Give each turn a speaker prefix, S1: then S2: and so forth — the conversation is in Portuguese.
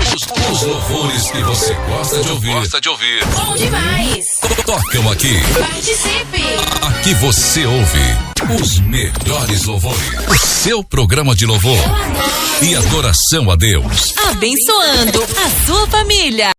S1: os, os louvores que você gosta de ouvir.
S2: Gosta de ouvir.
S3: Bom demais.
S1: Tocam aqui.
S3: Participe.
S1: Aqui você ouve os melhores louvores. O seu programa de louvor e adoração a Deus.
S4: Abençoando a sua família.